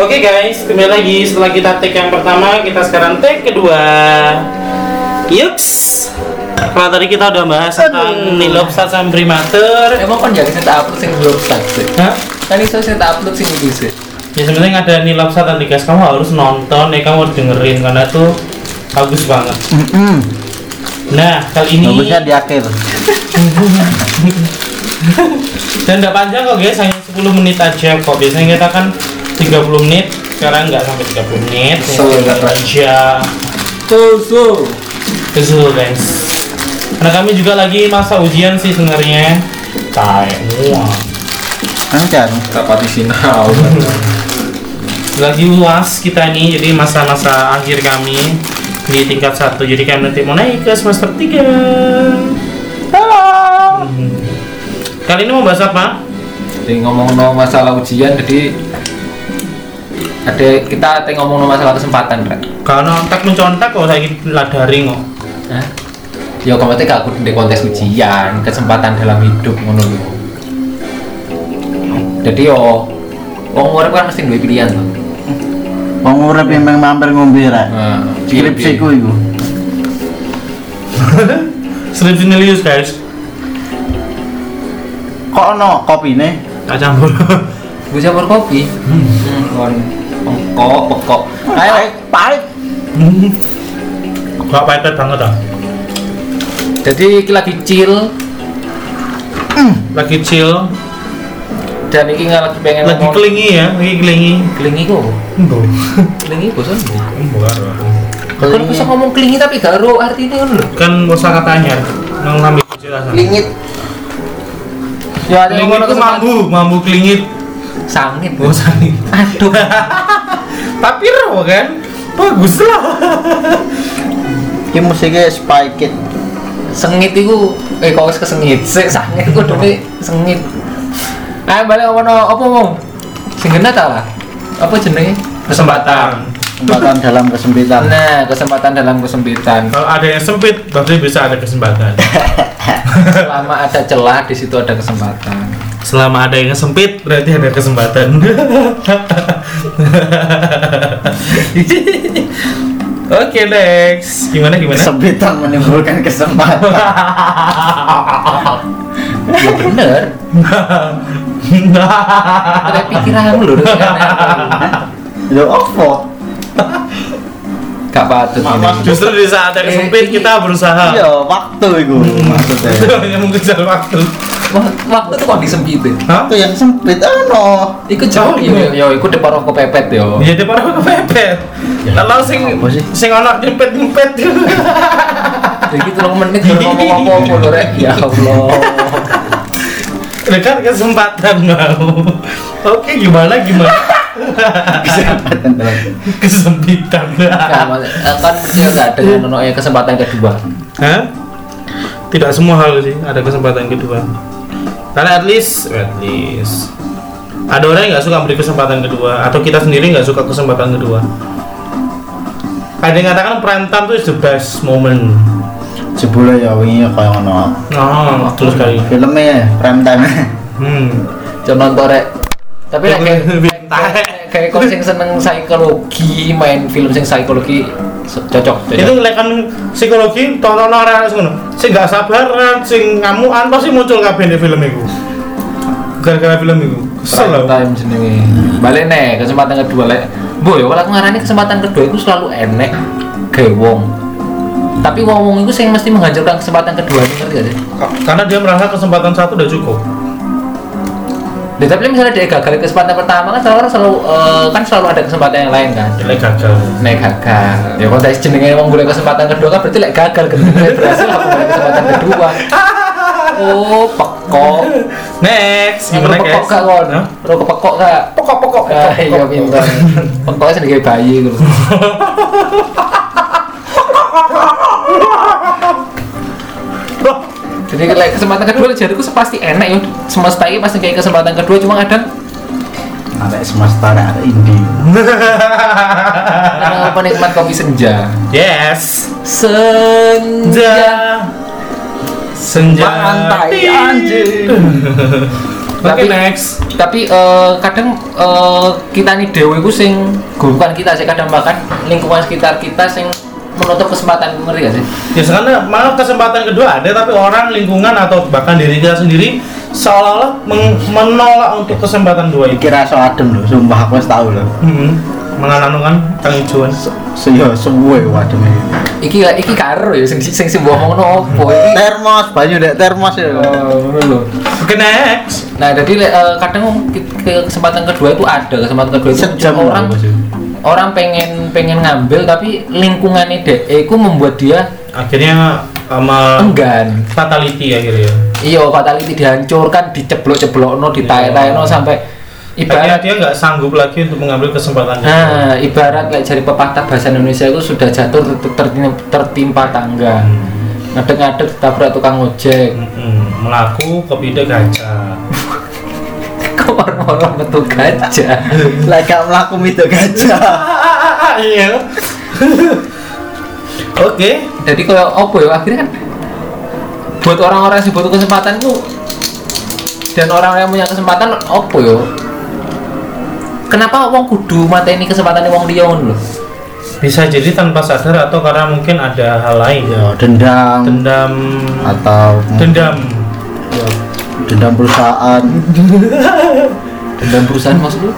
Oke guys, kembali lagi setelah kita take yang pertama, kita sekarang take kedua. Yups. Kalau tadi kita udah bahas tentang nil lobster sama primater. Emang kan jadi saya tak upload sing belum start sih. Hah? Kan iso saya tak upload sing iki sih. Ya sebenarnya ada nil lobster tadi guys, kamu harus nonton ya, kamu harus dengerin karena itu bagus banget. Nah, kali ini Bagusnya Kan di akhir. dan nggak panjang kok guys, hanya 10 menit aja kok. Biasanya kita kan 30 menit, sekarang nggak sampai 30 menit. So, nggak Nggak aja. So so. Betul guys. Karena kami juga lagi masa ujian sih sebenarnya. Kayak wah. Kan kan. Tak pati sinau. Lagi uas kita nih, jadi masa-masa akhir kami di tingkat satu. Jadi kami nanti mau naik ke semester 3 Halo. Kali ini mau bahas apa? Jadi ngomong no masalah ujian jadi ada kita tadi ngomong no masalah kesempatan kan. Karena tak mencontak kok saya ladari kok. Hah? Ya kalau tadi aku di kontes ujian kesempatan dalam hidup ngono lho. Jadi yo wong urip kan mesti duwe pilihan to. Wong urip yang memang mampir ngombe ra. Nah, Skripsiku iku. Sering nilius guys. Kok ono kopine? Tak campur. Gue campur kopi. Hmm, kon pengkok, pekok. Ayo, Pahit, pahit. Gak pahit banget ah. jadi iki lagi chill Lagi chill, dan iki nggak lagi pengen lagi ngomong- kelingi ya, lagi kelingi. kelingi kok Enggak. kelingi bosan bu Enggak. kan bisa ngomong kelingi tapi gak ro artinya kan lho kan kosa katanya nang ngambil penjelasan kelingit ya ada yang kelingit itu kesempatan- mambu mambu kelingit sangit bu bosan aduh tapi roh kan bagus lah Ki musiknya spike it. sengit itu eh kok wis kesengit sik sangit ku demi sengit ayo balik ngomong no apa mau sing kena ta lah apa jenenge kesempatan Kesempatan dalam kesempitan. nah kesempatan dalam kesempitan kalau ada yang sempit berarti bisa ada kesempatan selama ada celah di situ ada kesempatan selama ada yang sempit berarti ada kesempatan oke next gimana gimana Kesempitan menimbulkan kesempatan. ya bener ada pikiranmu lho Lho opo? gak patut ini justru di saat yang sempit kita berusaha Iya, waktu iku maksudnya. hanya mengejar waktu Wak- waktu tuh kok disempit ya Hah? Waktu yang sempit ono. Iku jauh Oh, yo iya. yo- yo, iku depan rokok pepet yo. Ya dia parah kepepet. Lalu sing Ya. apa sih? sing ono nyempet-nyempet. Jadi tolong menit baru ngomong apa lho rek. Ya Allah. Dekat kesempatan mau. Oke, gimana gimana? Kesempatan dalam. Kesempitan. Nah, mak- kan percaya gak dengan ono yang ya, kesempatan kedua. Hah? Tidak semua hal sih ada kesempatan kedua. Karena at least, at least ada orang yang nggak suka beri kesempatan kedua atau kita sendiri nggak suka kesempatan kedua. Ada yang katakan perantam itu is the best moment. Jebule ya wingi koyo ngono. Oh, betul sekali. Filmnya ya, prime time. Hmm. Jangan nonton rek. Tapi Ya, nek kayak bener, bener. kayak- kayak kon sing seneng psikologi, main film sing psikologi se- cocok. itu cocok. lek kan psikologi tonton orang harus ngono sing gak sabaran sing ngamukan pasti muncul kabeh di film itu gara-gara film itu kesel Prime lah time jenenge. Balik nih kesempatan kedua lek. Bu yo kalau aku ngarani kesempatan kedua itu selalu enek kayak wong. Tapi wong-wong itu sing mesti menghancurkan kesempatan kedua ini ngerti gak sih? karena dia merasa kesempatan satu udah cukup Ya, tapi misalnya dia gagal di kesempatan pertama kan selalu orang selalu eh, kan selalu ada kesempatan yang lain kan. jelek gagal Nek gagal, ya konteks jenenge wong golek kesempatan kedua kan berarti lek gagal ketika dia berhasil aku golek kesempatan kedua. Oh, pekok. next Gimana gimana pekok guys gak kon? Hah? Ro kepekok gak? pokok pokok Ah, iya pinter. Pekoknya sendiri kayak bayi gitu. Jadi lek kesempatan kedua jariku pasti enak ya. Semesta ini pasti kayak kesempatan kedua cuma kadang Ada semesta ada indi. Karena penikmat kopi senja. yes Senja. senja senja Pantai, anjing. Oke Tapi- next. tapi eh, kadang eh, kita nih dewe ku sing bukan kita sih kadang bahkan lingkungan sekitar kita sing menutup kesempatan ku, ngerti gak sih Ya sekarang malah kesempatan kedua ada tapi orang lingkungan atau bahkan diri kita sendiri seolah-olah meng- menolak untuk kesempatan dua itu. Iki rasa adem lho, sumpah aku wis tau lho. Hmm. Mengananungan kang ijuan. Se ya, yo suwe yo adem iki iki. iki karo ya sing sing sing mbok omongno opo iki Termos, banyu dek termos Eh, ya. ngono lho. Oke next. nah jadi eh, kadang ke- ke- kesempatan kedua itu ada kesempatan kedua itu Sejam lho, orang Bos. orang pengen pengen ngambil tapi lingkungannya dek eh, itu membuat dia Akhirnya sama enggan fatality akhirnya. ya. iya fatality dihancurkan diceblok-ceblok no ditaik-taik sampai Akhirnya ibarat dia nggak sanggup lagi untuk mengambil kesempatan itu. nah ibarat kayak dari pepatah bahasa Indonesia itu sudah jatuh ter- tertim- tertimpa tangga Hmm. ngadeg-ngadeg tabrak tukang ojek Mm-mm. Hmm, Melaku kepide kaca. kok orang-orang metu gajah Lek gak mlaku mido gajah. Iya. Oke. jadi kayak apa ya akhirnya kan buat orang-orang yang butuh kesempatan itu dan orang-orang yang punya kesempatan apa ya kenapa wong kudu mateni kesempatan wong liya ngono lho Bisa jadi tanpa sadar atau karena mungkin ada hal lain. ya. Yo Ya, dendam Dendam. atau Dendam. yo, dendam perusahaan. dendam perusahaan maksud lu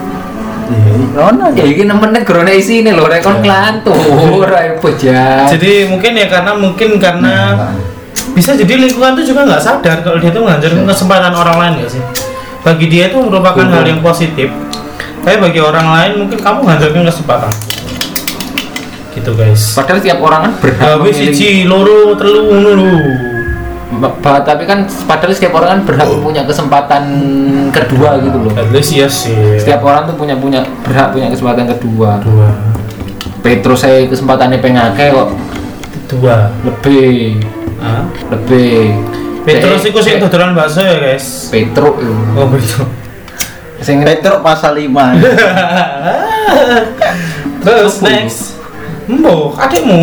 Iya, ono ya ini 6 menit gerone isine lho rek kon Ya. kelantur ae bojang Jadi mungkin ya karena mungkin karena bisa jadi lingkungan itu juga nggak sadar kalau dia itu Iya. menghancurkan kesempatan orang lain nggak sih. Bagi dia itu merupakan hal yang positif. Tapi bagi orang lain mungkin kamu menghancurkan kesempatan. Gitu guys. padahal tiap orang kan berhak Gawe memiliki Nah, siji loro telu ngono lho. tapi kan padahal setiap orang kan berhak punya kesempatan kedua gitu loh At least Oh. ya sih. setiap orang tuh punya punya berhak punya kesempatan kedua dua Petrus saya kesempatannya pengake kok dua. lebih Ah. lebih Petrus Cek- iku sing cek dodolan bakso ya guys. Petro itu Oh begitu. sing Petruk pasal 5. Terus Apa next. Mbok, adikmu.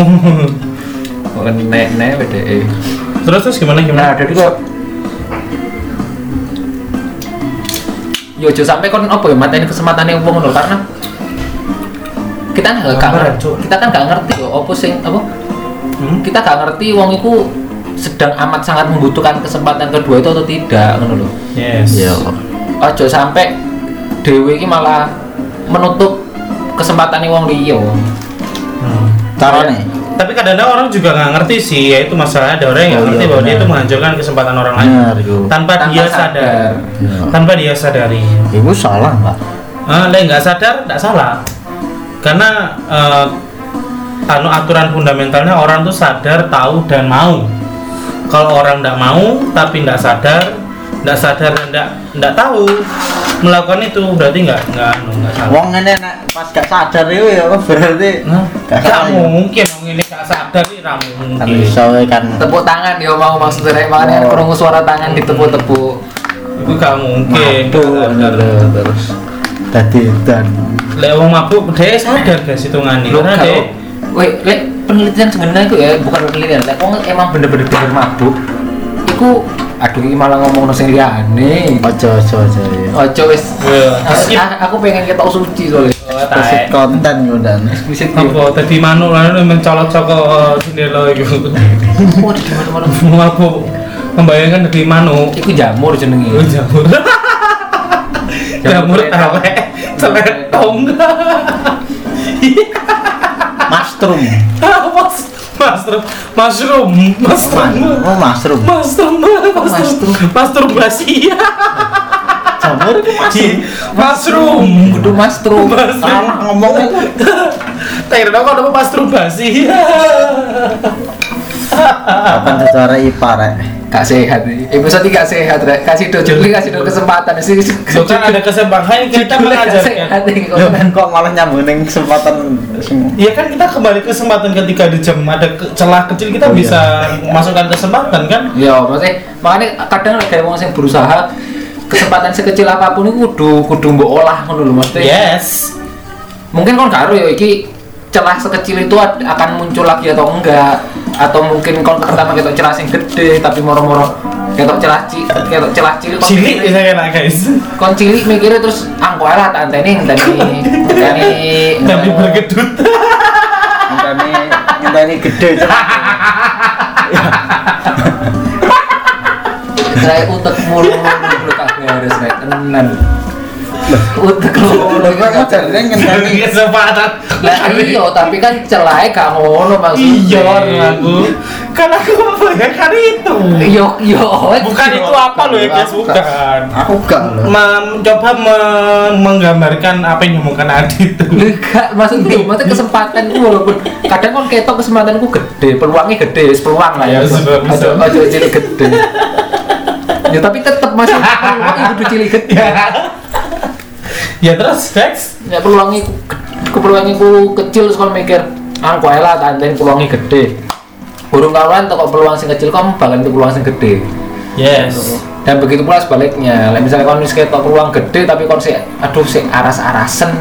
nek nek PDE Terus terus gimana nah gimana? jadi kok yo jo sampai kon apa ya mateni kesempatannya wong ngono karena kita nggak nggak Gambaran, ngerti Cuk. kita kan nggak ngerti kok apa sing apa Hmm? kita nggak ngerti wong iku sedang amat sangat membutuhkan kesempatan kedua itu atau tidak ngono loh Yes. Iya. ojo sampai dewi ini malah menutup kesempatan wong liya Hmm. Carane Tapi kadang-kadang orang juga nggak ngerti sih, ya itu masalah ada orang yang nggak Oh, ngerti iya, bahwa dia benar. itu menghancurkan kesempatan orang lain benar yo. tanpa, Tanpa dia sadar. sadar. Iya. tanpa dia sadari. Iku Ya, salah, Pak. Ah, lah nggak sadar nggak salah, karena eh, anu aturan fundamentalnya orang tuh sadar, tahu dan mau. Kalau orang nggak mau tapi nggak sadar, nggak sadar dan nggak nggak tahu melakukan itu berarti nggak nggak anu, nggak salah. Wong ngene nek pas gak sadar iku ya berarti Nah, gak nggak salah. mungkin orang ini nggak sadar ini nggak Kan mungkin. iso kan tepuk tangan yo mau maksudnya rek makanya Oh. kerungu suara tangan ditepuk-tepuk Itu nggak mungkin. Mabuk, bener, ya, terus tadi dan Lek wong mabuk dia sadar guys hitungannya. Loh, Karena kalau- dia Weh, lek penelitian sebenarnya itu ya bukan penelitian lek wong emang bener-bener bener mabuk iku aduh ini malah ngomong sing liyane ojo ojo ojo ya. ojo wis Wah, skip. Ah, aku pengen ketok suci soalnya Oh, taek. Kasih konten yo dan. bisa apa tadi manu lalu mencolot coko jendela itu Oh, di mana-mana. mabuk membayangkan dari manu Iku jamur jenenge. Lu Oh, jamur jamur Jamur tawe Jamur celetong Mushroom. mas mushroom mushroom mushroom Oh, mushroom. mushroom mushroom masturbasi Jamur iku mushroom. mushroom Kudu mastrum. Salah ngomong iku. Tahu kok nama masturbasi Kapan secara IPA rek? Gak sehat nih. Episode ini gak sehat, Rek. Kasih do juli, kasih do kesempatan. Sini Loh, kan ada kesempatan kita mengajarkan sehat nih. Loh, kok malah nyambung ning kesempatan sing Iya kan kita kembali ke kesempatan ketika di jam ada ke- celah kecil kita Oh, bisa masukkan kesempatan kan? Ya, maksudnya makanya kadang ada wong sing berusaha kesempatan sekecil apapun itu kudu kudu mbok olah ngono lho maksudnya. Iya. Yes. Mungkin kon karo ya iki celah sekecil itu ad- akan muncul lagi atau enggak atau mungkin kon pertama ketok celah sing gede tapi moro-moro ketok celah ci ketok celah cilik kon Cilik iya. saya enak guys. kon cilik mikirnya terus angko ae lah tak anteni ngenteni ngenteni Tapi bergedut. Ngenteni ngenteni gede celah. saya utek mulu mulu kabeh harus rek tenan utek mulu Lho kok jarene ngenteni Kesempatan. lah iya tapi kan celahnya gak ngono maksudnya Iya orang aku. Kan aku membayangkan itu. yo yo Bukan itu apa loh Iya. ya guys, bukan. Aku gak lho. Mencoba men- menggambarkan apa yang diomongkan Adit itu. Enggak, maksudnya maksudnya kesempatan itu walaupun kadang kan ketok kesempatanku gede, peluangnya gede, wis peluang lah ya. Ya, sudah bisa. Aja aja cilik gede. ya tapi tetap masih peluangnya kudu cilik gede. Iya. Ya terus Dex Ya peluangnya ku- ku peluangnya ku kecil terus kalau mikir ah kok lah tandeng peluangnya gede. Burung kawan kok peluang sing kecil kamu bakal itu peluang sing gede. Yes. Dan begitu pula sebaliknya. Lah misalnya kon wis ketok peluang gede tapi kon sik aduh sik aras-arasen.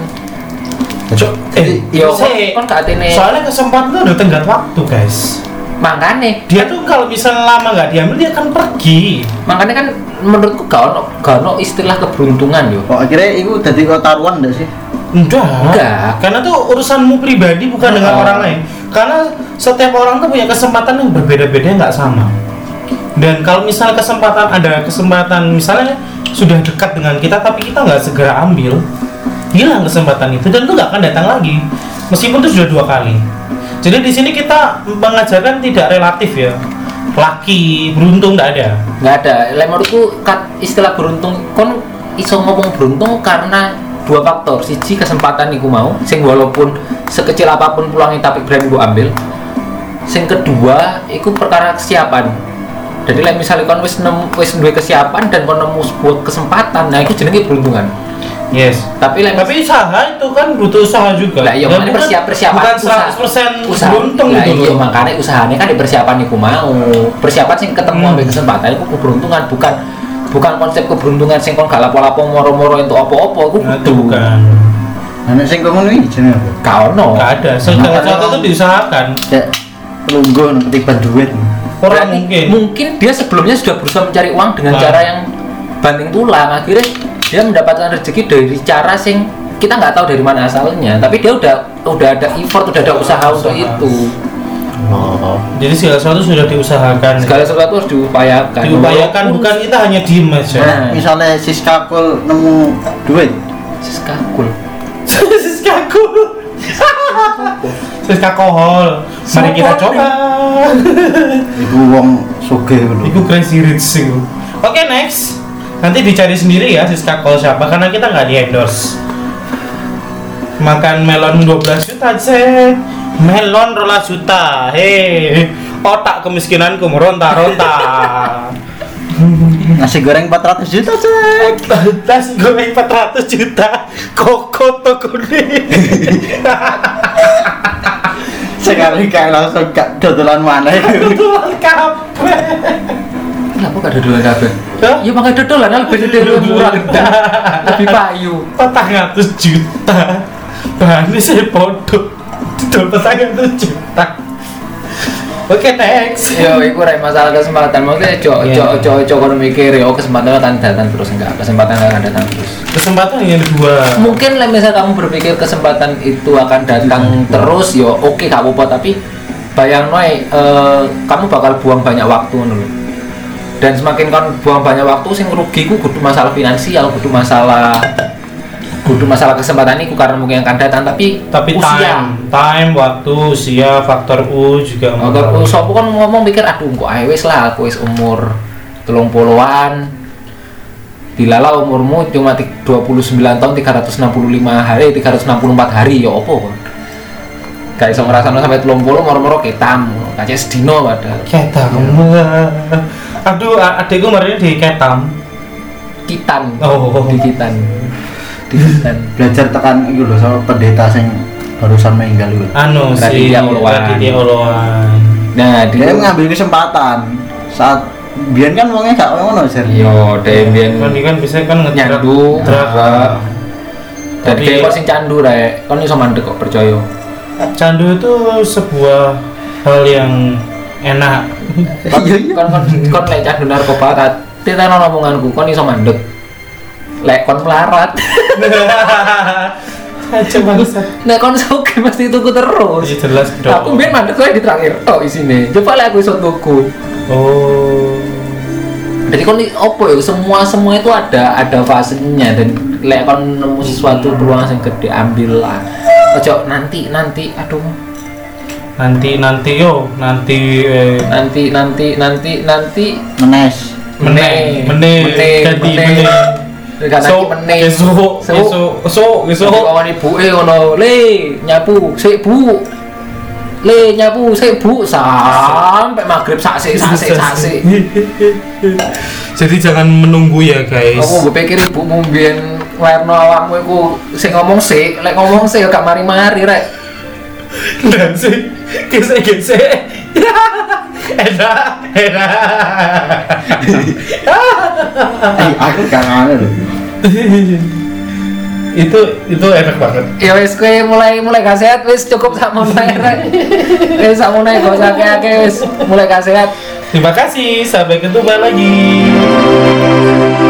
Cok, eh, Yo kon, sih. kon gak atine. Soalnya kesempatan itu udah tenggat waktu guys. Makane Dia tuh kalau misalnya lama nggak diambil dia akan pergi. makanya kan menurutku gak ono gak ono istilah keberuntungan yo Kok akhirnya iku dadi kok taruhan ndak sih? Enggak. Enggak. Karena tuh urusanmu pribadi bukan dengan Oh. orang lain. Karena setiap orang tuh punya kesempatan yang berbeda-beda nggak sama. Dan kalau misalnya kesempatan ada kesempatan misalnya sudah dekat dengan kita tapi kita nggak segera ambil, hilang kesempatan itu dan itu nggak akan datang lagi. Meskipun itu sudah dua kali. Jadi di sini kita mengajarkan tidak relatif ya. Laki beruntung nggak ada. nggak ada Lah, menurutku kat- istilah beruntung kon iso ngomong beruntung karena dua faktor siji kesempatan iku mau sing walaupun sekecil apapun peluangnya tapi berani gua ambil sing kedua iku perkara kesiapan jadi lah misalnya kon wis nemu wis duwe kesiapan dan kon nemu sebuah kesempatan nah itu jenenge beruntungan Yes. tapi lah Tapi usaha itu kan butuh usaha juga. Nah, Lah iya Dan makanya bukan- persiap persiapan bukan usaha. 100% usaha. beruntung Lah gitu iya loh. makanya usahanya kan di persiapan iku mau. Persiapan sing ketemu Hmm. ambil kesempatan iku keberuntungan bukan bukan konsep keberuntungan sing kon gak lapo-lapo moro-moro entuk apa-apa iku Nah, itu bukan. Oh. Nah nek sing kok ngono iki jenenge apa? Gak ono. Gak ada. Segala sesuatu itu diusahakan. Cek lungguh nang ketiban duit. Orang Berarti mungkin. dia sebelumnya sudah berusaha mencari uang dengan Nah. cara yang banting tulang akhirnya dia mendapatkan rezeki dari cara sing kita nggak tahu dari mana asalnya tapi dia udah udah ada effort udah ada usaha untuk Usaha. itu Oh. Jadi segala sesuatu sudah diusahakan. segala sesuatu harus diupayakan Diupayakan Walaupun bukan kita hanya diem aja. Nah, misalnya Siska Kul nemu duit, Siska cool. Siska ku. Siska kohol. Mari Semua kita orang. coba. iku wong sugih lho. Itu crazy rich sih. Oke next. Nanti dicari sendiri ya Siska Call siapa karena kita nggak di endorse. Makan melon 12 juta cek. Melon 12 juta. Hei, otak kemiskinanku meronta-ronta. Nasi goreng 400 juta, Cek. Tas gue 400 juta. Koko toko kuning. Sekali kayak langsung gak dodolan mana iku. Tulang kabeh. Kenapa gak dodolan kabeh? Hah? Ya pakai dodolan lebih dodolan lebih murah gendang. Lebih payu. 400 juta bahannya saya bodoh didol 400 juta oke next Yo, iku rek masalah kesempatan. Maksudnya cok Iya. cok cok cok kono mikir yo kesempatan akan datang terus enggak? Kesempatan akan datang terus. kesempatan yang kedua Mungkin lah misal kamu berpikir kesempatan itu akan datang terus yo oke gak apa-apa tapi bayang noy eh, kamu bakal buang banyak waktu dulu dan semakin kan buang banyak waktu sing rugi ku kudu masalah finansial kudu masalah kudu masalah kesempatan iku karena mungkin akan datang tapi tapi usia time time waktu usia faktor u juga Motor mempengaruhi. sopo kan ngomong pikir aduh kok ae wis lah aku wis umur telung puluhan dilala umurmu cuma ti- 29 tahun 365 hari 364 hari ya opo kok gak iso ngrasakno sampai telung puluh moro-moro ketam kacek sedino padahal ketam aduh a- adikku kemarin di ketam titan Oh. di titan di titan Belajar tekan iku lho sama pendeta sing barusan meninggal iku. anu si Raditya Oloan. Raditya Oloan nah di Dia kan ngambil kesempatan saat biyen kan wongnya gak ngono, Cer. yo kan dembian dia kan bisa kan ngedrak- Nyandu, drak. drak. dan Tapi- kayak kok sing candu rek kon iso mandek kok percaya candu itu sebuah hal yang enak Iya, kon kon kon kon lek candu narkoba ta titeno omonganku kon iso mandek lek kon melarat Acem banget. lek kon suki mesti tuku terus Iya jelas dong. aku mbien mandek kowe ditraktir tok isine coba lek aku iso tuku Oh. jadi kon i- opo ya semua semua itu ada ada fasenya dan lek kon nemu sesuatu peluang yang gede ambil lah ojo nanti nanti aduh Nanti nanti yo, nanti eh, nanti nanti nanti nanti menes meneh, meneh, ganti meneh. Gak So, nanti meneh So, esok, esok, So esok, esok. kawan ibu eh ngono, le nyapu, sik bu. Le nyapu, sik bu sampai maghrib sak sik sak sik sak sik. Jadi jangan menunggu ya guys. Aku gue pikir ibumu mbiyen werno awakmu iku sing ngomong sik, lek ngomong sik ya gak mari-mari rek. Dan sih, gesek gesek. Enak, enak. eh aku gak ngane lho itu itu enak banget. Ya wis kowe mulai mulai gak sehat wis cukup sakmono ae rek. Wis sakmono ae gak usah akeh wis mulai gak sehat. Terima kasih, sampai ketemu lagi.